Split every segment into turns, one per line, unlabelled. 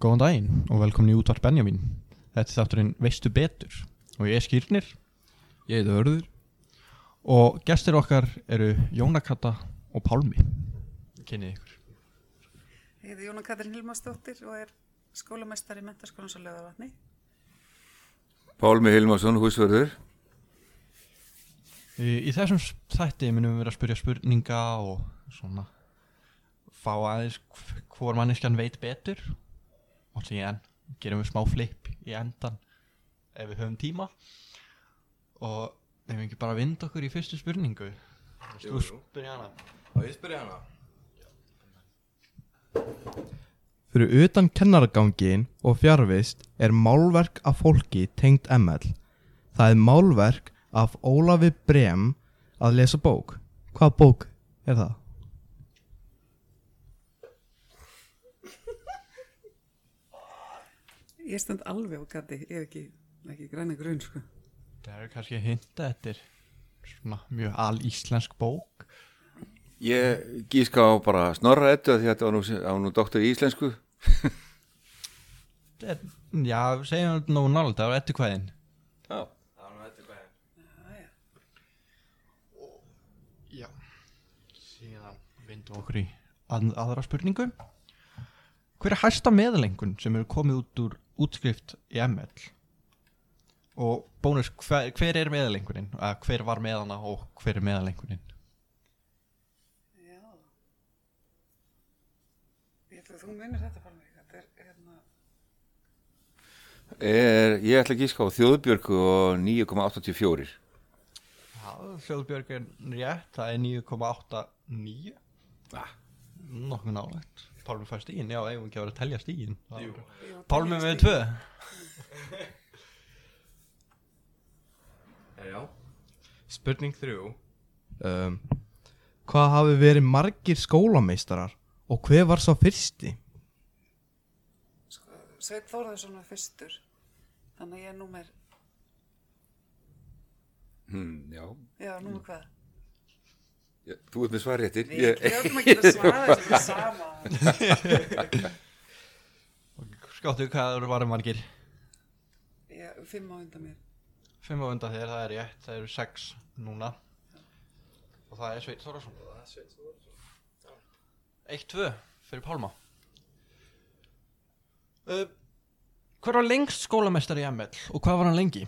Góðan daginn og velkomin í útvarp Benjamin. Þetta er þátturinn Veistu betur og ég er Skýrnir
Ég heiti Hörður
og gestir okkar eru Jónakata og Pálmi. Kynnið ykkur.
Ég heiti Jónan Katrin Hilmarsdóttir og er skólameistari í mentaskólans og löðarvatni.
Pálmi Hilmarsson, húsverður.
Í, í þessum s- þætti munum við vera að spyrja spurninga og svona fá aðeins hv- hvor manneskjan veit betur og síðan gerum við smá flip í endan ef við höfum tíma og ef við ekki bara vind okkur í fyrstu spurningu. Jú, jú. Spyrja hana.
Og ég spyrja hana
Fyrir utan kennaragangin og fjarvist er málverk af fólki tengt ML. Það er málverk af Ólafi Brem að lesa bók. Hvaða bók er það?
Ég stend alveg á gati, ég hef ekki, ekki græna grun, sko.
Það eru kannski að hinta þetta er svona mjög alíslensk bók
Ég gíska á bara snorra ettu því að þetta var nú, á nú doktor í íslensku.
Þetta er, Já, segjum við nú nálega, það var ettu kvæðin
Já.
Já Síðan vindum við okkur í að, aðra spurningu Hver er hæsta meðlengun sem eru komið út úr útskrift í ML? Og bónus, hver, hver er meðlengunin? Eða hver var meðana og hver er meðlengunin?
Já. Ég ætla að þú munir þetta bara mig. Þetta er hérna,
Er, ég ætla að gíska á þjóðbjörgu og 9,84.
Já, Hljóðbjörg er rétt, það er 9,89 Ah. Nokkuð nálægt Pálmi fær stígin, já, eigum við ekki að vera að telja stígin
Jú,
Pálmi
telja
með
stigin.
tvö
Já. Spurning þrjú. Um, hvað hafi verið margir skólameistarar og hver var sá fyrsti?
sko, Sveit Þórðarsson var fyrstur. Þannig að ég er númer,
Hmm, já.
já, númer hvað?
Já, Þú ert með svar réttir.
Við hljóðum ekki að svara þessu við sama.
Skáttu hvað eru varum margir
Já, fimm á undan mér.
Fimm á undan þér, það er rétt, það eru sex núna Og það er Sveit Þórðarsson Það er Sveit Þórðarsson Eitt, tvö, fyrir Pálma uh, Hver var lengst skólamestari í ML og hvað var hann lengi?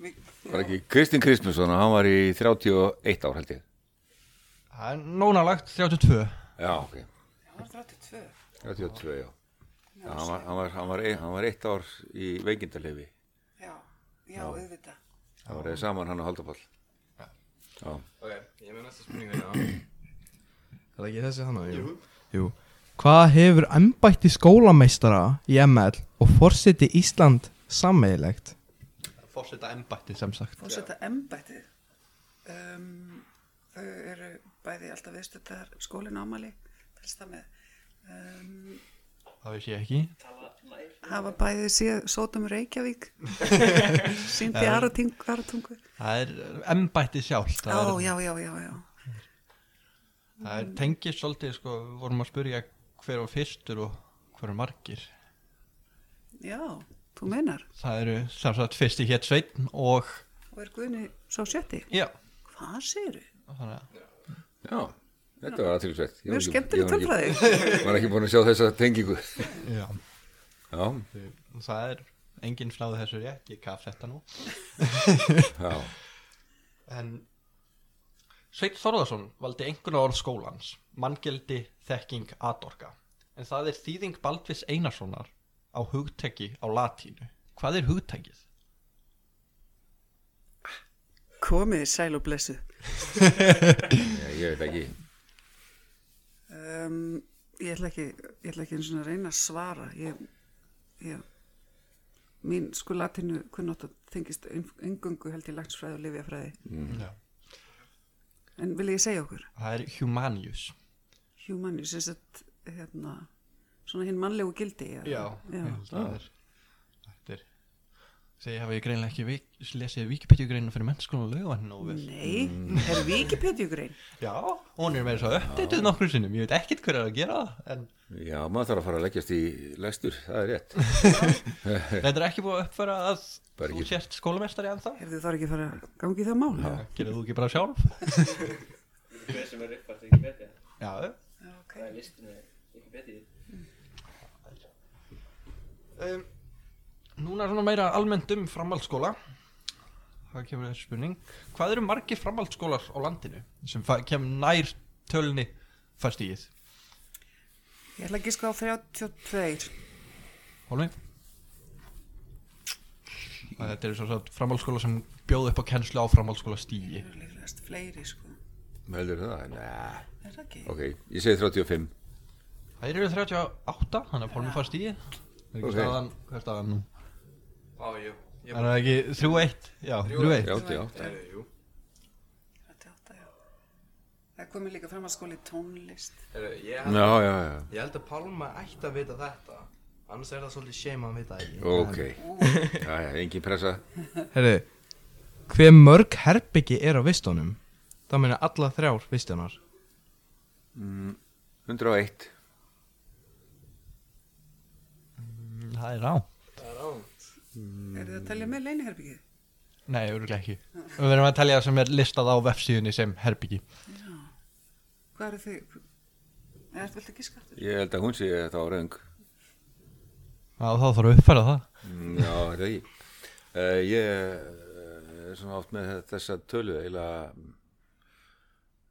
Mig-
Var ekki Kristinn Kristmusson og hann var í 31 ár held ég.
Það er nónalagt 32
Já, ok.
Hann var 32.
32, já. já hann, var, hann, var, hann, var, ein- hann var eitt ár í veikindalefi.
Já, já, auðvitað.
Það var eða saman hann og Haldapall. Já.
Ok, ég með næsta spurning þarna
Er það ekki þessi hann? Jú. Jú. Hvað hefur embætti skólameistara í ML og forseti Ísland sammeilegt?
Fórseta embætti sem sagt
Fórseta embættið um, þau eru bæði alltaf viðstöldar skólinn ámali telst það með um,
Það veist ég ekki
hafa bæði síðan Sótum Reykjavík síndi Aratungu Aratungu
Það er embætti sjálf
Já,
það, er,
já, já, já, já
það er tengist svolítið sko, við vorum að spyrja hver var fyrstur og hver var margir
Já, þú meinar
Það eru sem sagt fyrsti hétt Sveitn og
og er Guðni sá sjötti
já,
Hvað séru?
þannig að
Já, þetta var aðtryggsvegt.
Mjög skemmtileg tölfræði
Ég var ekki búin að sjá þessa tengingu.
já.
Já,
það er enginn sláði þessu rétt, ég kaf þetta nú
já.
en Sveit Þorðarsson valdi einhverja orð skólans manngildi þekking atorka en það er þýðing Baldvis Einarssonar á hugtæki á latínu hvað er hugtækið?
Komið sæl og blessu
Ég, ég veit ekki.
um, Ég ætla ekki ég ætla ekki einu sinni að reyna að svara ég, ég mín sko latinu kunnótt að tengist engöngu held ég lagsfræði og lifjafræði
Mm.
en vil ég segja okkur
það er humanius
humani sem sett hérna svona hinn mannlegu gildi eða-
Já,
já.
já. Það er, þetta er Þegar ég hafi greinlega ekki vik, lesið Wikipedia greinu fyrir mennskóla og lögvann og vel.
Nei, er Wikipedia-grein?
Já, hún er með þess að uppdeituð nokkru sinnum, ég veit ekkert hver er að gera það, en
Já, maður þarf að fara að leggjast í lestur, það er rétt.
þetta er ekki búið að uppfæra að
Bara
þú
ekki.
sért skólamestari en það.
Hefðu þar ekki að fara að gangi það mál? Já.
Gerðu þú ekki bara sjálf?
Hver sem er uppfært ekki betið
Já.
Það er listinu ekki betið
Um, núna svona meira almennt um framhaldsskóla. Það kemur þessi spurning. Hvað eru margir framhaldsskólar á landinu sem fa- kem nær tölni fast í þið?
Ég ætla ekki sko á 32.
Hólmi Að Þetta eru svo svo framhaldsskóla sem bjóðu upp á kennslu á framhaldsskóla stíi
Það eru líklegast fleiri sko.
Mælur það? Nei,
Er það ekki?
ok, ég segi 35.
Það eru 38, þannig að Hólmi fær stíi Það er ekki
Ok.
staðan, hvað er staðan nú?
Á, jú. Ég
Er það ekki 3-1? Já, 3-1
Já, já,
er, jú.
38, já. Það komið líka fram að skóli tónlist.
Er, ég, held,
já, já, já.
ég held að Palma ætti að vita þetta. Annars er það svolítið shame að hann vita það ekki.
Ok, já, já, engin pressa.
Herru, hve mörg herbyggi er á vistunum? Það meina alla þrjár vistunar
101.
Það er rá
Eru það að telja með leiniherbyggið?
Nei, örugglega ekki Við verðum að telja það sem er listað á vefsíðunni sem herbyggi
Hvað eru þið? Er þetta ekki skattur?
Ég held að hún sé þá röng.
Já, þá þarf að uppfæra það
Mm, Já, er það ekki. Uh, ég eh, er svona oft með þessa tölu, eiginlega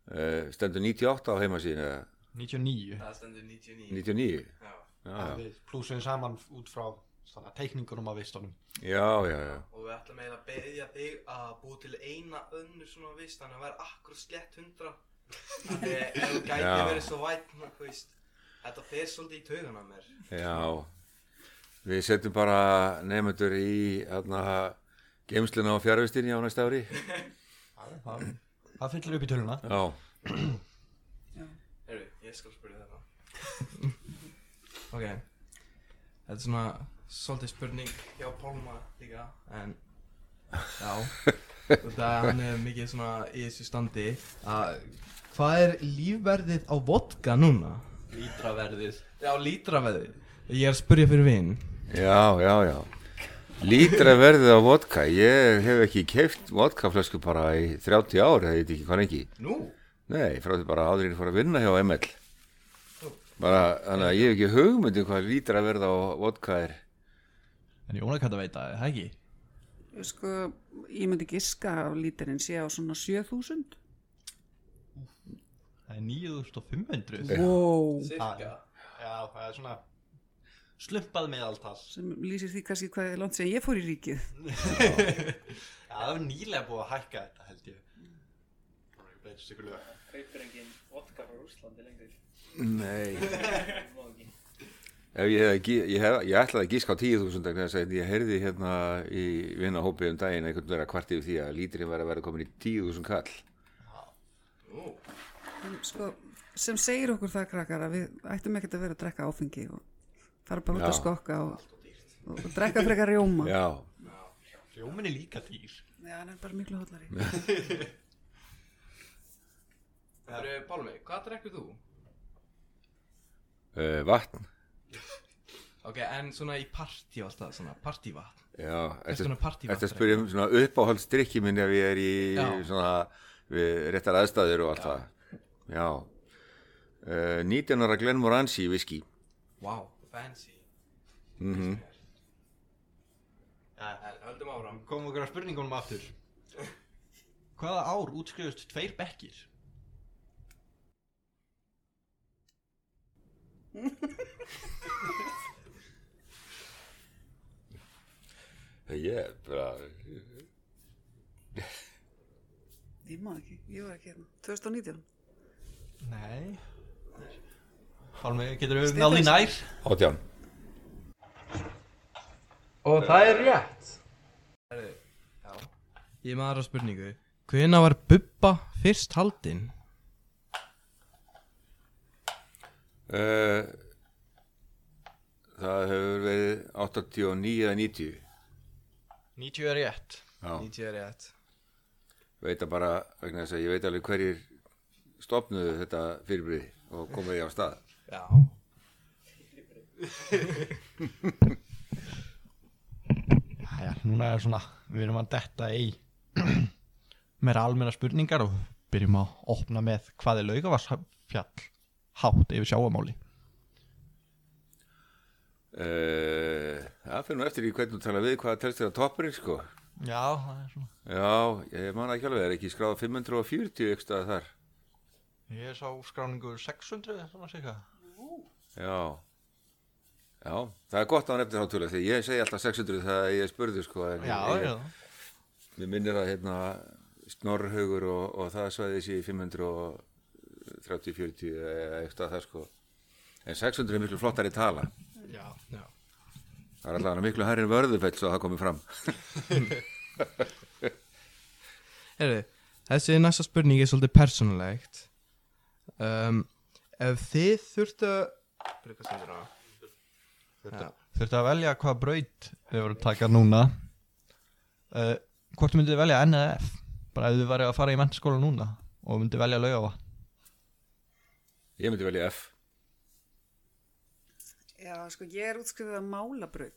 uh, stendur 98 á heimasíðinu, eða
99
Það stendur 99.
99.
Já.
Já, já,
Plúsin saman út frá svona, teikningunum af vistunum
já, já, já.
Og við ætlum eiginlega að beðja þig að búa til eina önnur svona vist, þannig að vera akkur slett 100. Þannig að ef þú gæti
Já.
verið svo væt, þú veist, þetta fer svolítið í taugana á mér.
Já, við setjum bara nefnendur í aðna, geimsluna á fjárvistinni á næsta ári.
Það það fyllir upp í töluna
Já,
Herru, ég skal spyrja þetta.
Ok Þetta er svona svolítið spurning hjá Pálma líka En Já Þetta hann er mikið svona í þessu standi að
Hvað er lífverðið á vodka núna?
lítraverðið Já, lítraverðið
Ég er að spurja fyrir vin
já, já, já. Lítra verðið á vodka, ég hef ekki keift vodkaflösku bara í 30 ár, það veit ekki hvað ekki.
Nú?
Nei, frá því bara áður en ég fór að vinna hjá ML. Bara, þannig að ég hef ekki hugmyndið hvað lítra verð á vodka er.
En Jónakata veit að það ekki
Sko, ég myndi giska á lítirinn sé á svona 7000.
Það er 9500
Wow.
Cirka Já, það er svona slumpað meðaltal
Sem lýsir því kannski hvað er langt sem ég fór í ríkið.
Já, það er nýlega búið að hækka þetta held ég Breytist ykkur lög
Kaupir engin vodka frá Rúslandi lengur
Nei. Ef ég, hef, ég, hef, ég ætlaði að gíska á 10.000 vegna þess að ég heyrði hérna í vinnahópi um daginn einhvern vera kvart yfir því að líturinn var að vera komin í 10.000 kall.
En, Sko, sem segir okkur það krakkar að við ættum ekkert að vera að drekka áfengi og fara bara út að
Já.
skokka og, og, og drekka frekar rjóma. Já.
Já,
Rjómin er líka dýr
hann er bara miklu hotlari.
Herru, Pálmi, hvað drekkur þú?
uh, vatn.
Ok, en svona í partí og alltaf, svona partívatn.
Já, ertu
konar partívatn
ertu að spyrja um svona uppáhaldsdrykki minn ef ég er í svona við réttar aðstæður og allt það. Já. Uh, 19 ára Glenmorangi viski.
Wow, fancy.
Mm
En höldum áfram.
Komum okkur að spurningunum aftur Hvaða ár útskrifust tveir bekkir?
Eh, Ég er bara,
Ég má ekki, ég var ekki hérna. 2019.
Nei Pálmi, getur við náð í nær?
átján.
Og það er rétt
Ég er með aðra spurningu Hvena var Bubba fyrst haldinn?
Uh, það hefur verið 89 eða 90
90 er rétt
já,
90 er rétt
veit að bara vegna þess að ég veit alveg hverjir stopnuðu þetta fyrirbrið og komið því á stað
Já
Jæja, núna er svona, við erum að detta í meira almenna spurningar og byrjum að opna með hvað er laugavarsfjall hátt yfir sjáamáli
uh, það fyrir nú eftir í hvernig þú tala við hvað telst þetta toppurinn sko
Já, það er svona
já, ég man ekki alveg, er ekki skráð 540 ekki staðar þar
Ég sá skráningu 600 eða svona sika
Já Já, það er gott að hann eftir þá tölur því ég segi alltaf 600 þegar ég spurði sko en
Já,
ég,
já,
Mér minnir að hérna snorrhaugur og, og það svæði þessi 530-40 eða eitthvað það sko En 600 er miklu flottar í tala
já
Já
Það er allavega miklu hærri en vörðufell svo það komið fram
Herri, þessi næsta spurning er svolítið persónulegt um, Ef þið þurftu að
Brukar stendur á
Þurftu að velja hvað braut við vorum taka núna uh, Hvort myndið velja N eða F? Bara ef þið værið að fara í mennskóla núna og myndið velja laugava
Ég myndi velja F
Já, sko, ég er útskrifið að málabraut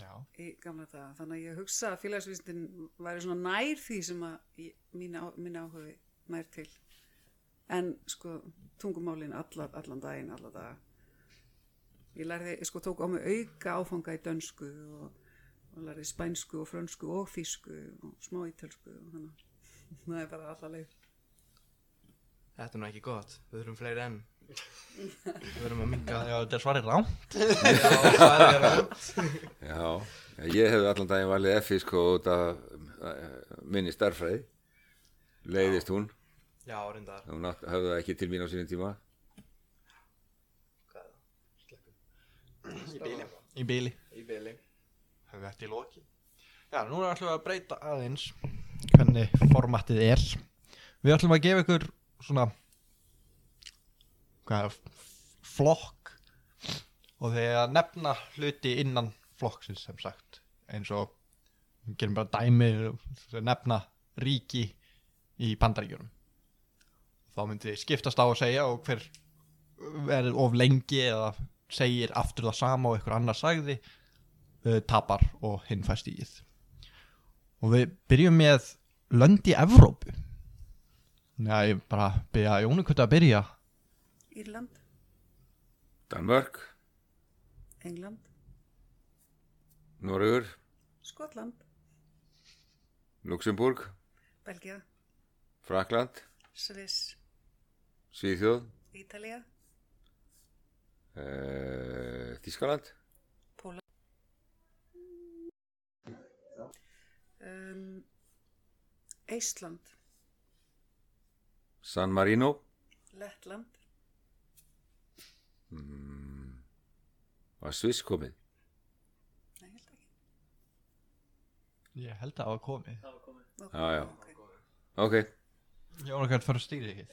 Já,
í gamla daga, þannig að ég hugsa að félagsvísindin væri svona nær því sem að ég- mín, á, mín áhugi nær til. En, sko, tungumálin alla, allan daginn, alla daga. Ég lærði, sko, tók á mig auka áfanga í dönsku og, og lærði spænsku og frönsku og físku og smá ítölsku og þannig. Það er bara alla leið.
Þetta er nú ekki gott Við þurfum fleiri enn Við þurfum að minga
já þetta er svarið rám
Já, ég hefði allan daginn valið F sko út af eh, minni starfræði Leiðist hún,
Já, reyndar
hún átt- höfði það ekki til mín á sínum tíma
Í bíli
Í byli
höfum við eftir í loki Já, núna ætlum við að breyta aðeins hvernig formatið er Við ætlum að gefa ykkur svona hvað er flokk og þegar að nefna hluti innan flokksins sem sagt eins og við gerum bara dæmi nefna ríki í bandaríkjunum þá myndi þið skiptast á að segja og hver verður of lengi eða segir aftur það sama og ykkur annar sagði uh, tapar og hinn fær stíð og við byrjum með lönd í Evrópu Já, ég bara byrja Jónu hvernig að byrja
Írland,
Danmörk,
England,
Noregur,
Skotland,
Luxemburg,
Belgia,
Frakland,
Sviss,
Svíþjóð,
Ítalía,
uh, Þískaland,
Póla um, Eistland
San Marino,
Lettland
var Sviss komið.
Nei, ég held ekki
Ég held að það var komið
Ok,
Já, já.
ok.
Ok,
Jónu hvernig fær stíð ekki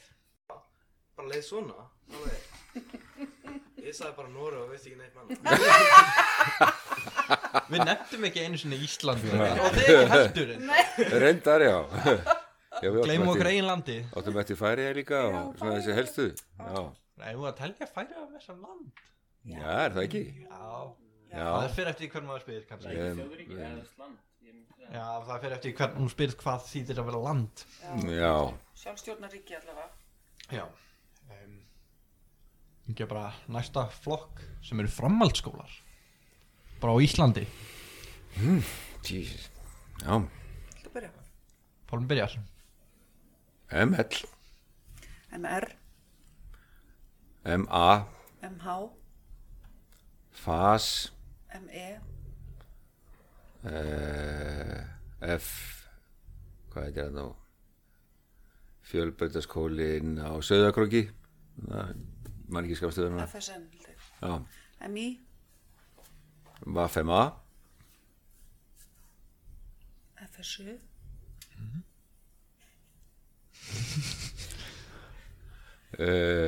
Bara leið svona alveg. Ég sagði bara Nóra og veist ekki neitt mann
Við nefndum ekki einu sinni Ísland og þið ekki heldur
reyndar já. já við
Gleimum okkur
eftir,
eigin landi
áttum eftir færiða líka og svona þessi helstu. Já,
Nei, við að telja færa af þessar land
já, er það ekki?
Já, það
Já,
fyrir eftir hvernig maður spyrir kannski
Ég-
Ekki þjóðríki, það er slant. Ég myndi segja.
Já, það fyrir eftir hvernig hún spyrir hvað þýðir að vera land
já,
Sjálfstjórnaríki allavega
Já um, Ég er bara næsta flokk sem eru framhaldsskólar bara á Íslandi
Jesus. Já,
Þetta byrja
Pálmi byrjar
ML,
MR,
MA,
MH,
FAS,
ME,
uh, F, hvað heitir það nú? Fjölböldaskólin á Söðakróki, mann ekki skapstöðuna.
FSN held ég.
Já,
MI,
Vafema,
FSU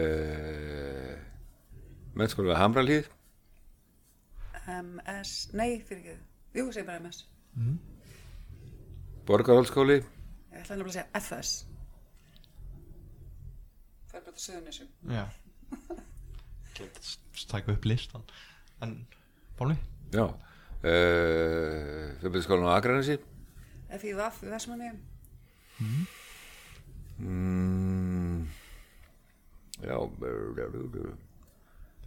uh, Mennskóla Hamralíð,
MS, nei fyrir ekki Jú, ég segi bara MS
Borgarhólskóli,
Ég ætlaði nefnilega að segja FS. Það er bara til söðunisum.
Já Glemt Stæku upp listan En Bálmi
já, uh, Fjöbyrðskólinn á Akranesi,
FIVAF í Vestmanniðum.
mm, já, uh,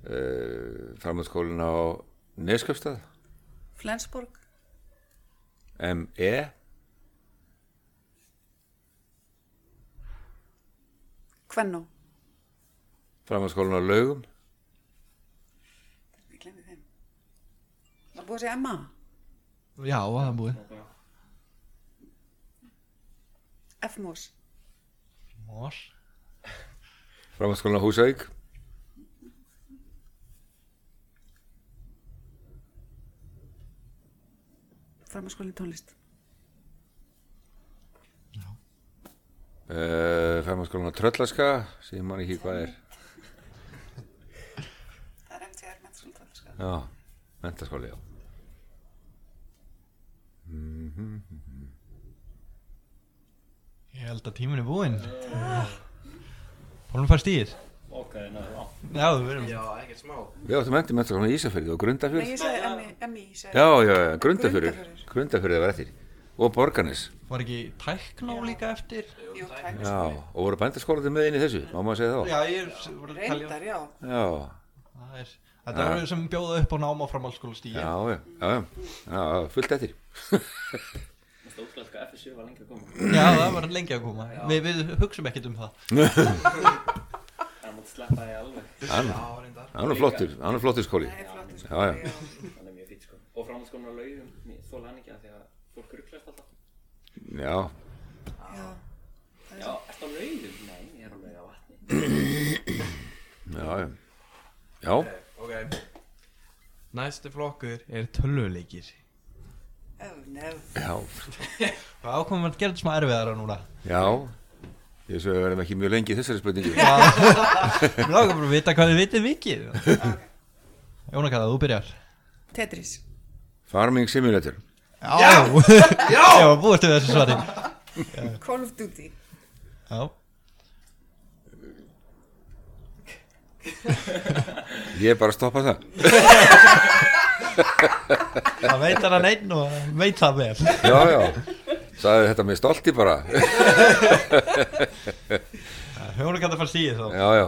Eh, framhaldsskólinn á Neskjöfstað,
Flensborg.
ME,
Kvennó.
framhaldsskólinn á Laugum,
Ég glemði þeim. Það er búið að segja MA.
Já, það er búið
FMOS.
Mór
framhaldsskólinn á Húsavík,
Framhanskólinn tónlist.
uh, framhaldsskólinn á Tröllaska, sem ég man ekki hvað er,
Það er MTR menturskóli tónlist.
já, mentaskóli, já.
Ég held að tíminn er búinn Ah. Bálmi fær stíð
Ok, náðu á.
Já, þú verðum
Já, ekkert smá
Við áttum endi mentaskólan í Ísafjörði og
Nei,
Grundafjörð.
ég segi MI, MI, E, ég segi.
Já, já, já, Grundafjörður.
Grundarfjörður.
Grundafjörður var eftir. Og Borgarnes.
Var ekki tækná líka eftir
Jú, tæknist.
Já, og voru bændaskólaðið með inn í þessu, má maður segja þá.
Já, ég er- voru að telja
Reyndar, já.
Já,
Það er Þetta eru sem bjóða upp á náma framhaldsskóla stíð
já, já, já, já, já fullt eftir.
Mest ótrúlega að FSU var lengi að koma.
Já, það var lengi að koma Við, við hugsum ekkert um það
Það mátt sleppa því alveg.
Hann,
Já, reyndar
hann er flottur, hann er flottur skóli.
Það er flott. sko.
Já, já.
Það er mjög fýtt sko. Og framhaldskomna laugum, ég þóla hann ekki að því að fólk rugglast alltaf.
Já,
Já.
Já, ertu á laugum? Nei, ég er á laug á vatni.
já, já. Já,
Ok,
Næsti flokkur er tölvuleikir
Öf, nef.
já,
Það ákomum að gera þetta smá erfiðara núna
já. Ég svo við verðum ekki mjög lengi í þessari spurningu.
Mér langar bara að vita hvað þið vitið vikið Jónakalla, þú byrjar
Tetris.
Farming Simulator.
Já Já Ég var búist við þessu svari
Call of Duty.
Já
Ég er bara að stoppa það.
Það veit hann að neinn og hann veit það vel
Já, já. Sæði þetta með stolti bara.
Jónakalla fannst í þá
Já, já.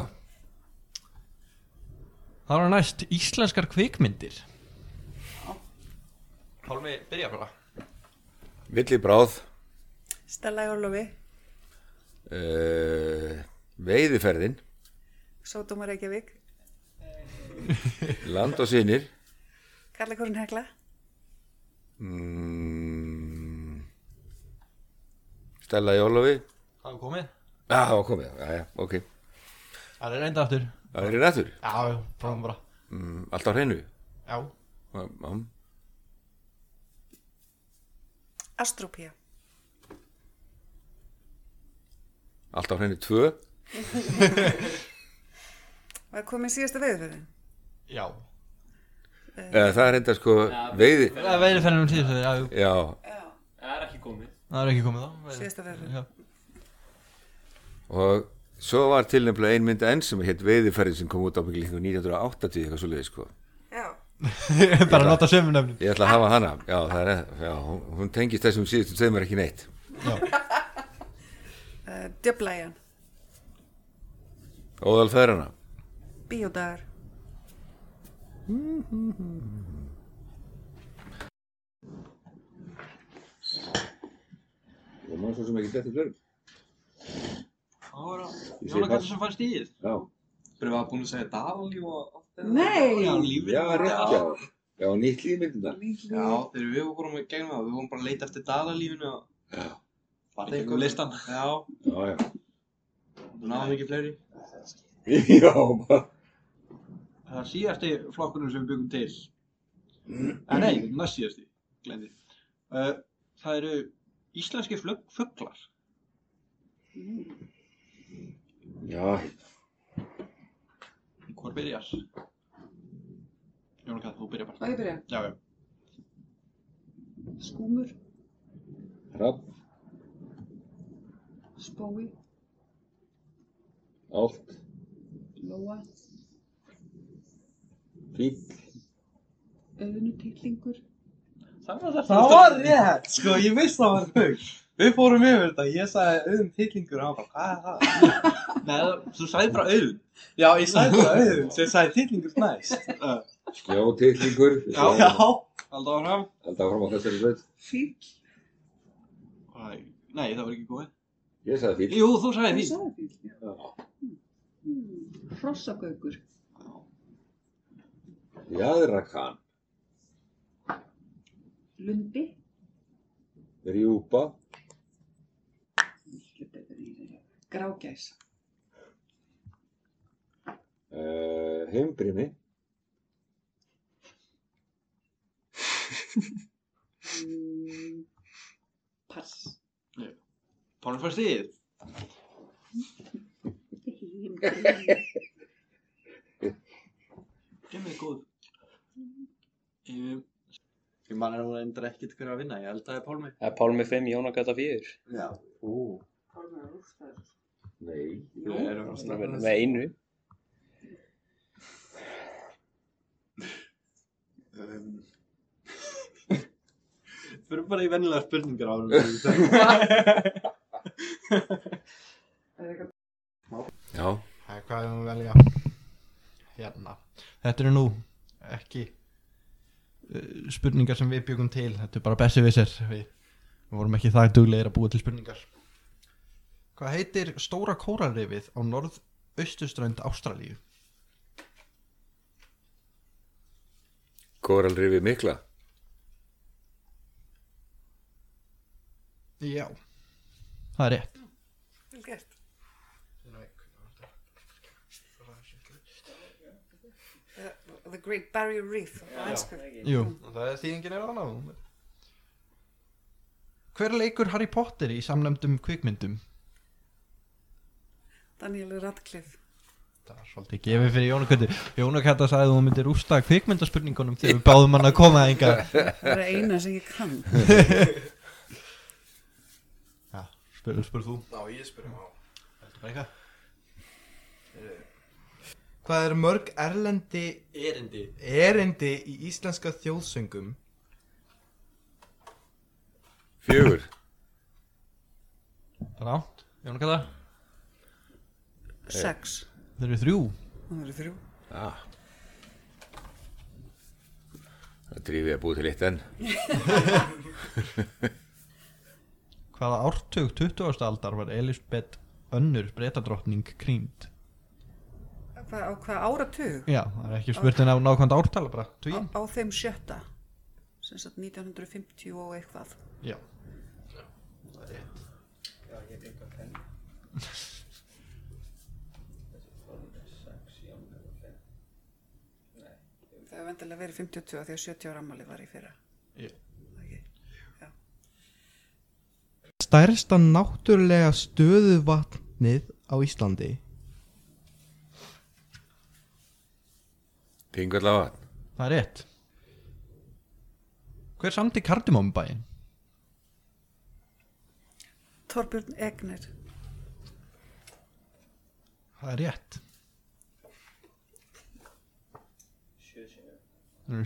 Það var næst íslenskar kvikmyndir Pálmi, byrja bara
Villi bráð.
Stella í Orlofi.
uh, veiðiferðin
Sódóma Reykjavík.
land og sinir
Karlakorinn Hekla.
mm, Stella Jólofi
Það er komið
Já, ah, komið, já, já, ok
Það er reynda aftur
Það er í nættur,
Já, fráum bara
mm, allt á hreinu
Já
Já, já.
Astropía.
Allt á hreinu tvö
Var komin síðasta veiðferðin.
Já
eh, Það er enda sko veiði
Það er veiri fennum síðan já, já,
Já,
Það er ekki komið.
það er ekki komið þá
Síðasta veiðferðin.
Já,
og svo var til nefnilega ein mynd enn sem hétt veiðiferðin sem kom út á mikið líka 1980 eitthvað svo sko
Já.
bara að nota sömu nefnum
Ég ætla að hafa hana, já, það er, já hún, hún tengist þessum síðustu tveimur ekki neitt
Uh, Djöblæjan.
Óðal feðrana
Bíódagar.
Ég man svo sem ekki þetta flerum
Það var að
Ég segi
Jónakalla sem fannst í
Já,
Þeir var búin að segja Dalí og allt þetta.
Nei!
Já, lífið
já, rétt, já Já, nýtt lífmyndunar
Já, þegar við vorum að gegna það, við vorum bara að leita eftir Dalalífinu og bara
Þeir
eitthvað
komu.
listan. Já,
Já, já
þú náðum ekki fleiri.
Já, bara
Það er síðasti flokkurinn sem við byggum til.
Mm.
Eh, nei, næst síðasti, glemdi. Uh, það eru íslenski flug- fuglar.
Já,
Hvor byrjar? Jónakall, þú byrjar bara.
Og ég byrja.
Já, já.
Skúmur.
hrapp
Spói,
Átt,
Lóa,
fíl.
Öðnutillingur,
Það var það.
Það var rétt, sko, ég vissi það var hug. Við fórum yfir þetta, ég sagði auðum tillingur og hann bara, hvað er það?
Nei, það- þú sagði bara auð.
Já, ég sagði það auðum, sem sagði tillingur næst. Uh,
Skjótiðlingur.
já, já, haldið á hann.
Haldið áfram á þessari sveit.
fíll,
Nei, það var ekki góð.
Ég sagði fíl.
Jú, þú sagði
það
fíl.
sagði fíll, já. Hmm, Hrossagaukur,
Jaðrakan.
Lundi,
Rjúpa.
Grágæs,
Uh, heimbrimi.
mm, Pass,
Pálum fær stíð. Gef mig góð. Ég, ég man er nú endur ekkert hver að vinna, ég held að það er Pálmi.
Það er Pálmi 5, Jónagata 4.
Já.
Ú, nei.
Við erum að
Svona
snakka
með með einu.
um, Fyrir bara í vennilega spurningar á hann.
Já.
Hæ, hvað erum við að velja? Hérna. Þetta eru nú ekki uh, spurningar sem við byggum til. Þetta er bara bessi vissir. Við, við vorum ekki það duglegir að búa til spurningar. Hvað heitir stóra kóralrifið á norðaustuströnd Ástralíu?
Kóralrifi mikla.
Já. Það er rétt.
Vel gert. Uh, The Great Barrier Reef á ennsku.
Jú. Það er þýðingin er annað. Hver leikur Harry Potter í samnefndum kvikmyndum?
Daniel Radcliffe.
Það var svolítið gefið fyrir Jónakvætti. Jónakvætta sagði að hún myndi rústa kvikmyndaspurningunum þegar við báðum hann að koma enga.
Það er eina sem ég kann.
Já, spurðu spur þú.
Já, ég spurum á.
Heldur bara eitthvað.
Hvað er mörg erlendi
Erindi.
erindi í íslenska þjóðsöngum?
Fjögur.
Rátt, Jónakvætta.
Sex.
Þeir eru þrjú.
Það eru þrjú.
Ah. Það drífið að búið til eitt enn.
Hvaða ártug 20. aldar var Elisabeth önnur breytadrottning krýnd?
Hva, á hvað áratug?
Já, það er ekki spurtin á nákvæmd ártala bara.
Á,
Tvín?
á þeim sjötta. Sem sagt 1950 og eitthvað.
Já.
Það hefur vendilega verið 52 af því að 70 ára ammali var í fyrra.
Já.
Okay.
Stærsta náttúrulega stöðuvatnið á Íslandi
Pingallavatn.
Það er rétt. Hver samti kardimumbæin?
Torbjörn Egner.
Það er rétt.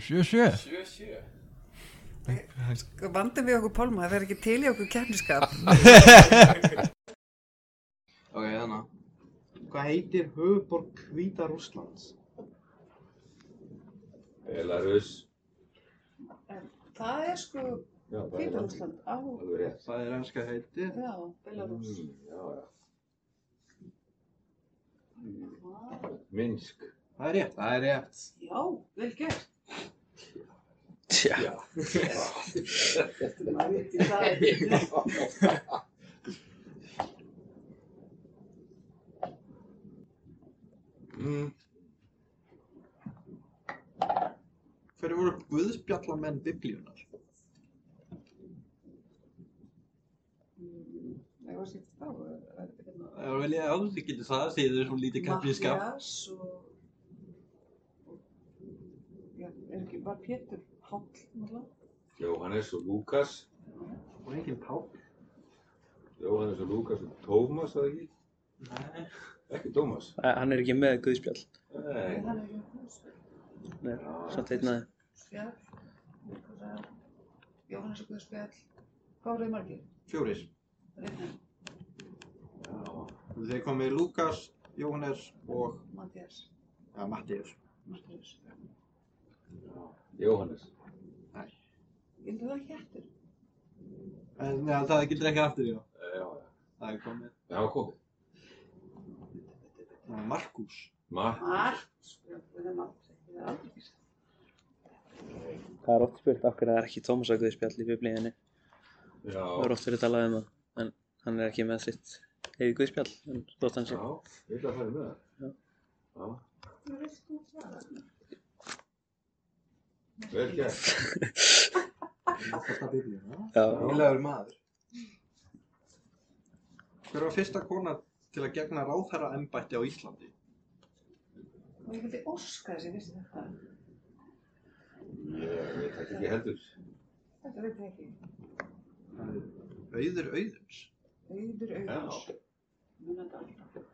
Sjö, sjö. Sjö, sjö.
Vandum við okkur pálma, það verður ekki til í okkur kjarniskap.
Ok, þannig. Hvað heitir höfuborg Hvíta Rússlands?
Belarus.
það er sko
Já,
Hvítarússland á,
Alveg rétt. Mm.
Það er enska heiti.
já, Belarus,
Já, já. Minsk.
Það er rétt. Það er rétt.
já, vel gert.
Tja.
Það er,
Mm. Hverju voru guðspjallamenn biblíunar?
það var sýtt þá, það er hérna.
Það vil ég að þú getur það, því þau er svona lítið kaplískap.
Mattias og, og já, er ekki, var Pétur Háll náttúrulega?
Jóhannes og Lukas.
Og enginn pál.
Jóhannes og Lukas og Tómas, að ekki?
Nei.
Ekki Tómas?
Eh, Hann er ekki með guðspjall.
Nei.
hann er hjá
hérna,
Guðspjall.
Nei, samt einn aðeins.
Spjall, Lukas, Jóhannes og Guðspjall. Hvað voruð þið margir?
Fjórir.
Reynar,
Þeir komið Lukas, Jóhannes og
Mattias,
ja, Mattias.
Martínus.
Jóhannes.
Gildur það ekki eftir?
En ja, það getur ekki aftur, já.
Eh, Já, já.
Það er komið
Það var komið.
eh, Markús.
Mark.
Margt, við erum aldrei, við erum aldrei ekki saman.
Það er oft spurt af hverju það er ekki Tómas að guðspjall í biblíðinni.
Já.
Það er oft verið talað um það. En hann er ekki með sitt eigið guðspjall. En þótt hann
Já,
sé.
ég ætla að fara með það.
Já.
Já.
Þú veist þú það.
Vel gert.
Alltaf biblíu, já.
Já,
Ílegur maður. Hver var fyrsta kona til að gegna ráðherra embætti á Íslandi?
Og ég vildi óska þess að ég vissi þetta.
Ég veit þetta ekki heldur.
Þetta veit ég ekki.
Það er Auður Auðuns.
Auður auðvitað.
Já.
Muna þetta alltaf.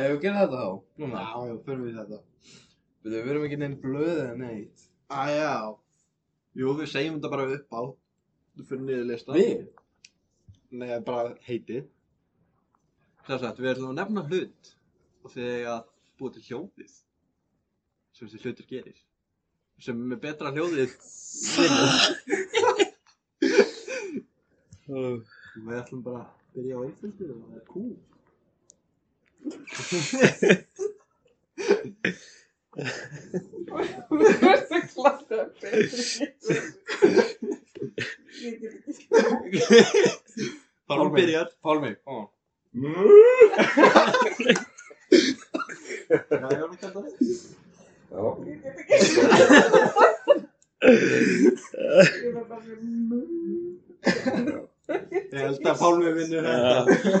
Ef við gerum þetta þá, núna,
Já, já, förum við í þetta.
við við erum ekki neinn blöð eða neitt.
Á, já. Jú, við segjum þetta bara upp á. Þú fyrir niður lista. Nei, bara heitið. Þess að við ætlum að nefna hlut og þegar að búið til hljóðið sem þessi hlutur gerir. Sem er betra hljóðið vinnur. Og við ætlum bara að byrja á einföldu og það er kú.
Þú veist það klart að betri. Ég get ekki.
Pálmi byrjar. Pálmi, koma. Já, ég var ekki að það.
Já.
Ég get ekki. Ég var bara "Mm." með mjög.
Ég held að Pálmi vinnur þetta.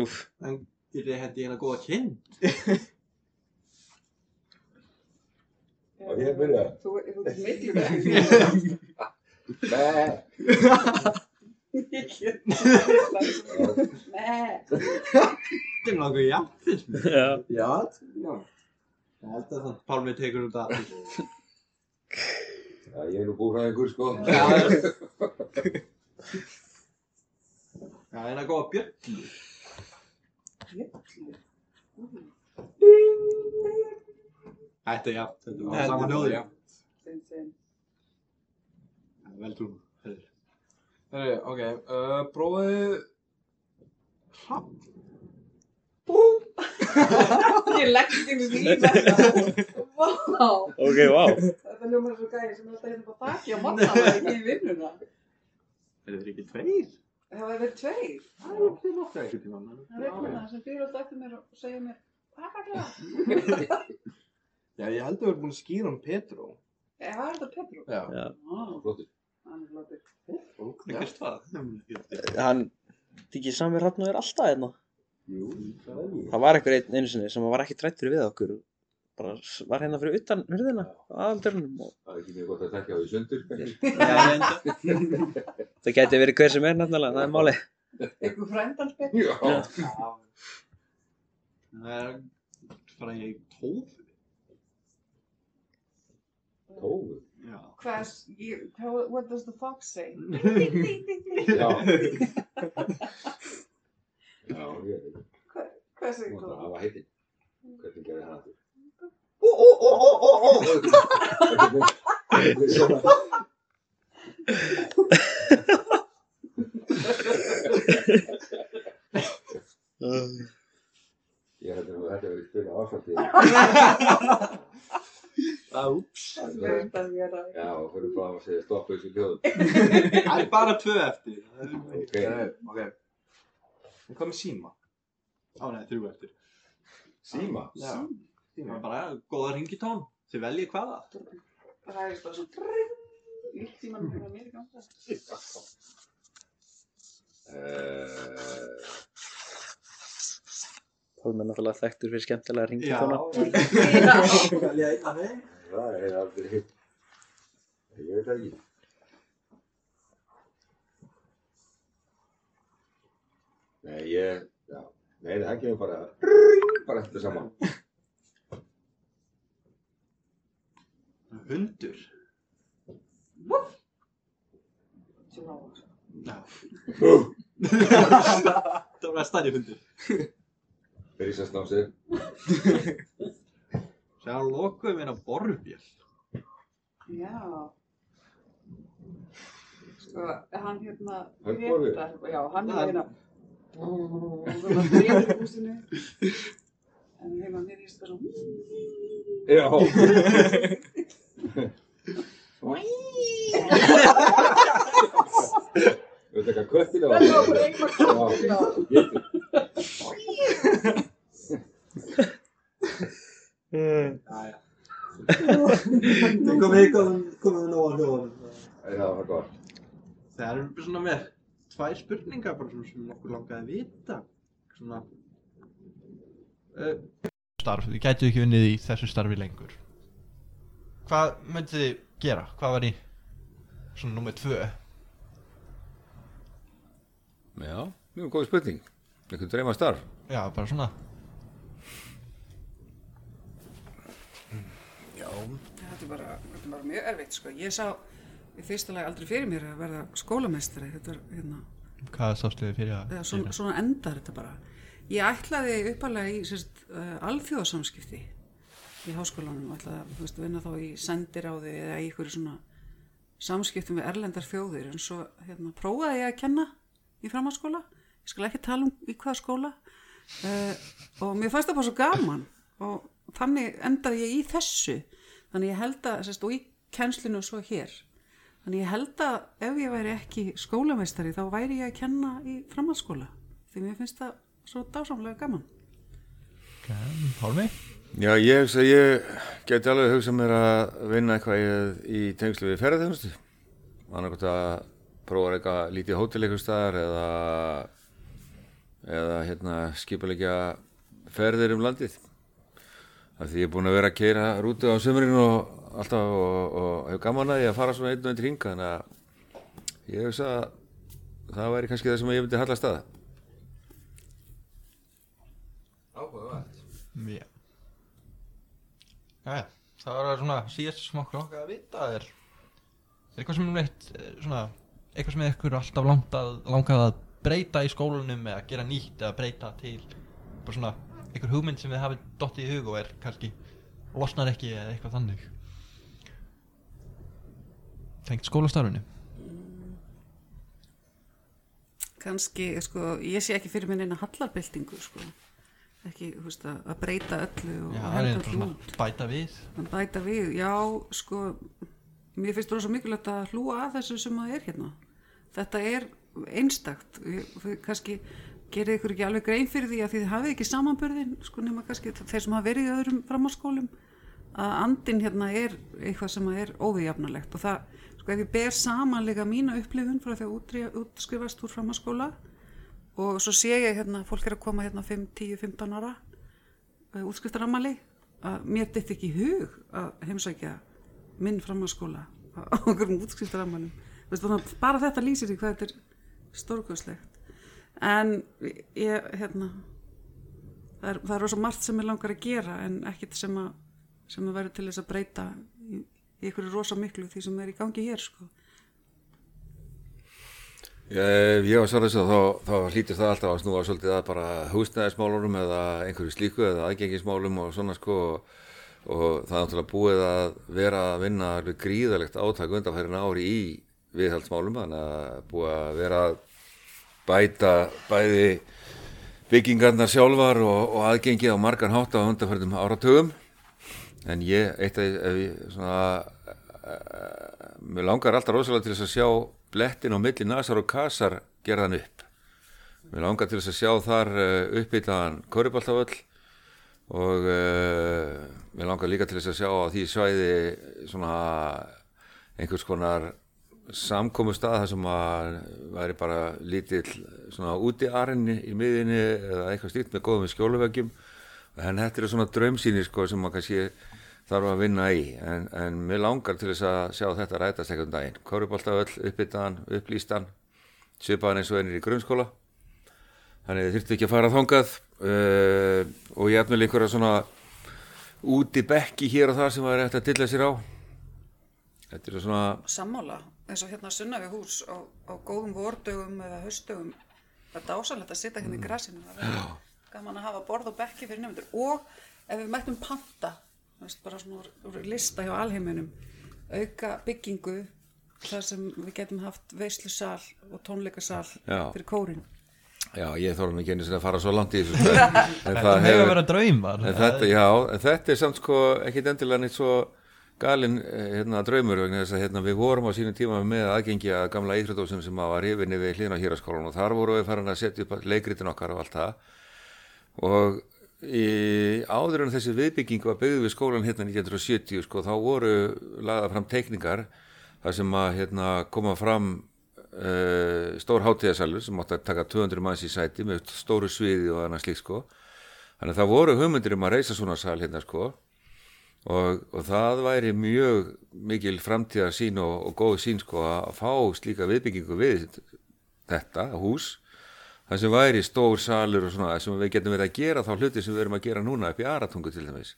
úf.
En getið þið hendið hérna góða kynn?
Og ég byrja.
Þú þú ert miklu verið.
Nei.
Ég get ekki. Nei.
Þetta er nokkuð jafn, finnst mér.
Já,
Já, já. Ég held að það. Pálmi tekur út að.
Já, ég er nú búinn að einhver sko.
Já, Já, en að góða björn. Þetta er jafn, þetta var sama hljóði.
Sem, sem.
Já, Vel trú.
Herru, ok, uh, prófaðu...
Ég leggst ekki með því þetta. Vá.
ok, vá.
Þetta hljómar svo gæði sem er alltaf hérna bara þakki á manna það er ekki í vinnuna.
Er þetta ekki tveir?
Það hafa verið tveir.
Það er ekki nokkuð ekki tíma.
Það er regluna sem fyrir alltaf eftir mér og segja mér Takk að það.
Já, ég held að við erum búin að skýra um Petró.
Ég var þetta Petru.
Já.
Já.
Ó,
Flottur.
hann er flottur.
Hvernig gerst það?
Hann, þykir Samir Hrafnur er alltaf hérna.
Jú, það er ég.
Það var einhver einn einu sinni sem var ekki trættur við okkur. Bara s- var hérna fyrir utan hurðina, aðaldurinn.
Það er ekki mjög gott að tekja á því sundur. kannski.
Já, reynda.
Það gæti verið hver sem er náttúrulega, það er máli.
Ykkur frændans Petru.
Já.
Það er bara í tóf.
Tófu.
Já.
Hvað, ég, hvað, what does the fox say?
Já. Já, ég veit ekki.
Hvað
Þú
segir
mátt bara
þú?
hafa heitinn. Hvernig gerir hann aftur?
Ó, ó, ó, ó, ó, ó.
Þetta er svona- Ég heldur nú að þetta verið spila áfaldið.
Það
Það er verið að vera.
Já, og fyrir bara að segja stoppa þessu hljóðum.
er bara tvö eftir.
Ok.
Herru, ok. En hvað með síma?
Á, nei, þrjú eftir.
Síma.
Já. Það var bara góða ringitón. Þið veljið hvaða.
Það er bara svo trrrr. Líkt tímanum fyrir að mér í ganga.
Eh,
Pálmi er náttúrulega þekktur fyrir skemmtilega ringið þána.
Veljið einn af þeim.
Það er aldrei hitt.
Ég veit það ekki. Nei, ég, já. Nei, það kemur bara, bara eftir saman.
Hundur? Já. það var stærri hundur.
Rísasnási.
Sér lokuðum við hérna borðbjörn.
Já. Sko, hann hérna...
Hann borðið?
Grétar- Já, hann er
Hann-
hérna... Það var breyður í húsinu. En
hérna
heima mér er þetta svona...
Já. Þú veit ekki að köttina var.
Það var bara einhver
Já,
Já.
getur.
Jæja. Þau komið komið nóg að hljóðan.
Já, það var gott.
Það eru bara svona með tvær spurningar bara svona sem okkur langaði að vita. Svona,
Eh, starf, þið gætu ekki unnið í þessu starfi lengur hvað myndið þið gera? hvað var í svona nummer tvö?
Já, mjög góð spurning. Einhvern dreyma starf.
já, bara svona
Þetta er bara, þetta er bara mjög erfitt sko. Ég sá í fyrsta lagi aldrei fyrir mér að verða skólameistari. Þetta er hérna,
hvað sástu þið fyrir að
eða svona, svona endar þetta bara. Ég ætlaði uppalega í sérst, uh, alþjóðasamskipti í háskólanum. ætlaði að þú veist, vinna þá í sendiráði eða í ykkur svona samskiptum við erlendar þjóðir. En svo hérna, prófaði ég að kenna í framhaldsskóla. Ég skal ekki tala um í hvaða skóla. Uh, og mér fannst það bara svo gaman og þannig endaði ég í þessu þannig ég held að, sérst, og í kennslinu og svo hér þannig ég held að ef ég væri ekki skólameistari þá væri ég að kenna í framhaldsskóla því mér finnst það svo dásamlega gaman
Hálmi?
Já, ég hugsa, að ég geti alveg hugsað mér að vinna eitthvað í, í tengslu við ferðarþjónustu. Annarkot að prófa eitthvað lítið hótel eitthvað staðar eða, eða hérna, skipulegja ferðir um landið. Af því ég er búinn að vera að keira rútu á sömurinn og alltaf og, og hef gaman að því að fara svona einn og einn hring, þannig að ég hugsa að það væri kannski það sem ég myndi hallast að.
Áhugavert.
já já, já, það var svona síðast sem okkur okkar að vita er er eitthvað sem er neitt eh, svona, eitthvað sem er ykkur alltaf langað, langað að breyta í skólanum eða gera nýtt eða breyta til bara svona, einhver hugmynd sem þið hafið dottið í hug og er kannski losnar ekki eða eitthvað þannig tengt skólastarfinu
kannski, sko, ég sé ekki fyrir mér neina hallarbyltingu, sko ekki, þú veist, að að breyta öllu og,
Já,
og
það er
henda
bara
öllu
svona
út
bæta við
að bæta við, já, sko mér finnst rosa mikilvægt að hlúa að þessu sem að er hérna þetta er einstakt Ég- þau kannski gerir ykkur ekki alveg grein fyrir því að þið hafið ekki samanburðin sko nema kannski þeir sem hafa verið í öðrum framháskólum að andin hérna er eitthvað sem að er óvíjafnalegt og það, sko ef ég ber samanlega mína upplifun frá því að útri- útskrifast úr framháskóla og svo sé ég hérna, fólk er að koma hérna 5, 10, 15 ára útskriftaramali eh, að mér dætti ekki í hug að heimsækja minn framhanskóla á einhverjum útskriftaramalim Veistu, þannig, að bara þetta lýsir því hvað þetta er stórkvæslegt en ég, hérna það er, það er rosa margt sem ég langar að gera en ekkit sem að sem að vera til þess að breyta í, í einhverju rosa miklu því sem er í gangi hér sko.
Ég, Eh, ég var svarað þess að þá, þá hlýtist það alltaf að snúa svolítið að bara húsnæðismálunum eða einhverju slíku eða aðgengismálum og svona sko og, og það er náttúrulega búið að vera að vinna alveg gríðalegt átak undanfærin ári í viðhaldsmálum þannig að búið að vera að bæta bæði byggingarnar sjálfar og, og aðgengið á margan hátt á undanfærdum áratugum en ég, eitt að ef ég svona uh, mér langar alltaf rosalega til þess að sjá blettin á milli nasar og kasar gerðan upp mér langar til þess að sjá þar uh, uppbyttaðan körubaltavöll og uh, mér langar líka til þess að sjá á því svæði svona einhvers konar samkomu stað þar sem að væri bara lítill svona úti í miðinni eða eitthvað slíkt með góðum skjóluveggjum en þetta eru svona draumsýni sko sem að kannski þarf að vinna í en, en mér langar til þess að sjá þetta rætast einhvern daginn Köruboltavöll, uppbyttaðan, upplýstan svipaðan eins og einir í grunnskóla þannig þið þurftu ekki að fara þangað uh, og ég efnileg einhverja svona úti bekki hér og þar sem var eftir að dilla sér á þetta er svona
sammála eins og hérna sunna við hús á, á góðum vordögum eða haustdögum það er dásanlegt að sitja hérna í grasinu það er gaman að hafa borð og bekki fyrir nefndur og ef við mættum panta þú veist, bara svona úr, úr lista hjá alheiminum auka byggingu þar sem við getum haft veislusal og tónleikasal
Já.
fyrir kórin
Já, ég þórum ekki einu sinni að fara svo langt í þessu stöð. En það
mega
hefur-
vera draumar.
En þetta, já, en þetta er samt sko ekkit endilega neitt svo galinn eh, hérna, draumur vegna þess að hérna, við vorum á sínum tíma með aðgengi að gamla íþrótósum sem var yfinni við hliðin á hýraskólan og þar vorum við farin að setja upp leikritin okkar og allt það og í, áður en þessi viðbygging var byggð við skólan hérna 1970 sko, þá voru lagða fram teikningar þar sem að hérna, koma fram uh, stór hátíðasalur sem átti að taka 200 manns í sæti með stóru sviði og annað slíkt sko þannig að það voru hugmyndir um að reysa svona sal hérna sko og, og það væri mjög mikil framtíðarsýn og, og góð sín sko að fá slíka viðbyggingu við þetta hús það sem væri stór salur og svona sem við getum verið að gera þá hluti sem við erum að gera núna upp í Aratungu til dæmis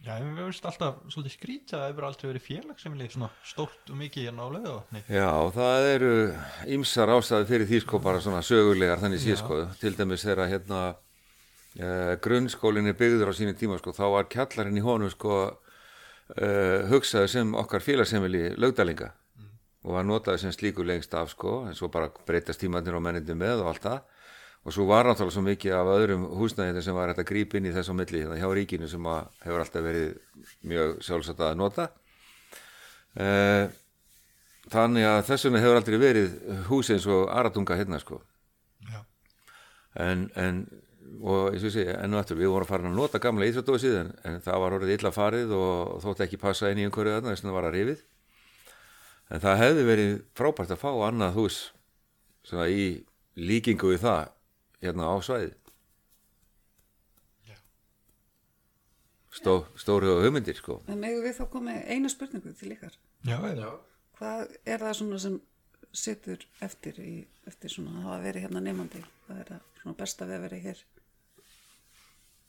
Já, en við veist alltaf svolítið skrítið að það hefur aldrei verið félagsefnilið svona stórt og mikið hérna á lögðavatni.
Já, það eru ýmsar ástæði fyrir því sko bara svona sögulegar þannig sé sko, til dæmis þegar hérna eh, grunnskólinn er byggður á sínu tíma sko, þá var kjallarinn í honum sko eh, hugsaði sem okkar félagsheimili lögdalinga og var notaði sem slíku lengst af sko, en svo bara breytast tímandir og mennindum með og allt það og svo var náttúrulega svo mikið af öðrum húsnæðinu sem var hægt að grípa inn í þess á milli hérna hjá ríkinu sem að hefur alltaf verið mjög sjálfsagt að nota Eh, Þannig að þess vegna hefur aldrei verið hús eins og Aratunga hérna sko. En, en, og eins og ég segi, enn og aftur, við vorum farin að nota gamla íþjóttdósið en, en það var orðið illa farið og þótt ekki passa inn í einhverju þarna þess vegna var að rifið. En það hefði verið frábært að fá annað hús svona í líkingu við það hérna á svæði. Stó, stóri og hugmyndir sko.
en eigum við þá komið eina spurningu til ykkar
Já, já.
hvað er það svona sem situr eftir, í, eftir svona að hafa verið hérna nefnandi hvað er það svona besta við að vera hér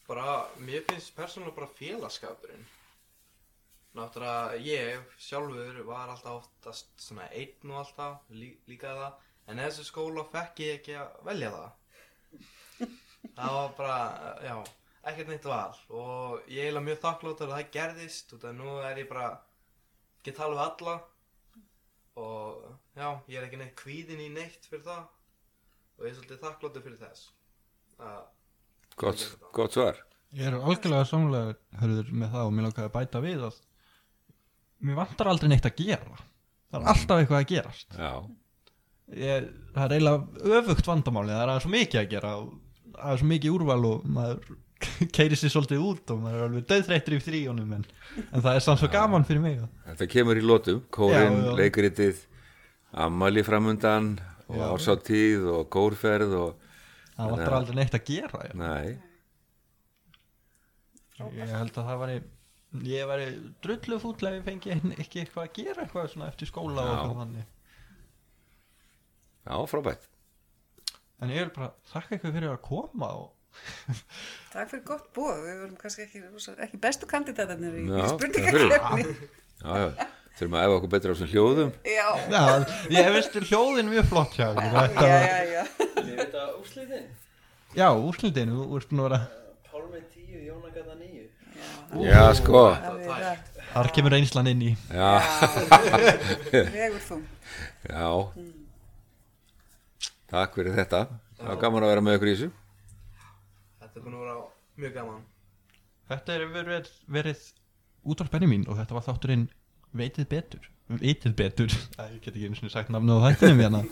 bara, mér finnst persónulega bara félagskapurinn náttúrulega ég sjálfur var alltaf oftast svona einn og alltaf lí, líka það en þessu skóla fekk ég ekki að velja það það var bara, já ekkert neitt val og ég er eiginlega mjög þakkláttur að það gerðist út af nú er ég bara get tala við alla og já, ég er ekki neitt kvíðin í neitt fyrir það og ég er svolítið þakkláttur fyrir þess að
Gott, gott svar.
Ég er algjörlega samlega hörður með það og mér langaði að bæta við að mér vantar aldrei neitt að gera. Það er alltaf eitthvað að gerast.
Já.
Ég, það er eiginlega öfugt vandamáli, það er aðeins svo mikið að gera og það er svo mikið úrval og maður keiri sér svolítið út og maður er alveg döðþreyttur í þríjónum en, en það er samt svo gaman fyrir mig.
Þetta kemur í lótum, kórin,
Já, já.
leikritið, ammali framundan og
Já.
ársáttíð og kórferð og...
Það vantar aldrei neitt að gera. Já.
Nei,
Ég held að það væri, ég væri drullu fúll ef ég fengi ekki eitthvað að gera eitthvað svona eftir skóla og
Já.
eitthvað þannig.
já, frábært.
En ég vil bara þakka ykkur fyrir að koma og
Takk fyrir gott bóð, við vorum kannski ekki, ekki bestu kandidatarnir í
Já, takk
spurningakefni.
Já, já, þurfum að efa okkur betur á þessum hljóðum.
Já,
Já, ég veist hljóðin mjög flott hjá ykkur.
já,
Þetta var-
já, já.
Ég veit að úrslitin
Já, úrslitin, þú ert búin að vera
Pálmi 10, Jónagata 9
Já, sko,
Það er rætt.
Þar kemur reynslan inn í
Já, vegur þú.
já. Takk fyrir þetta. Það var gaman að vera með ykkur í þessu.
Þetta er búin að vera mjög gaman.
Þetta er verið, verið útvarpenni mín og þetta var þátturinn Veitið betur Veitið betur Æ, ég get ekki einu sinni sagt nafn á þættinum hérna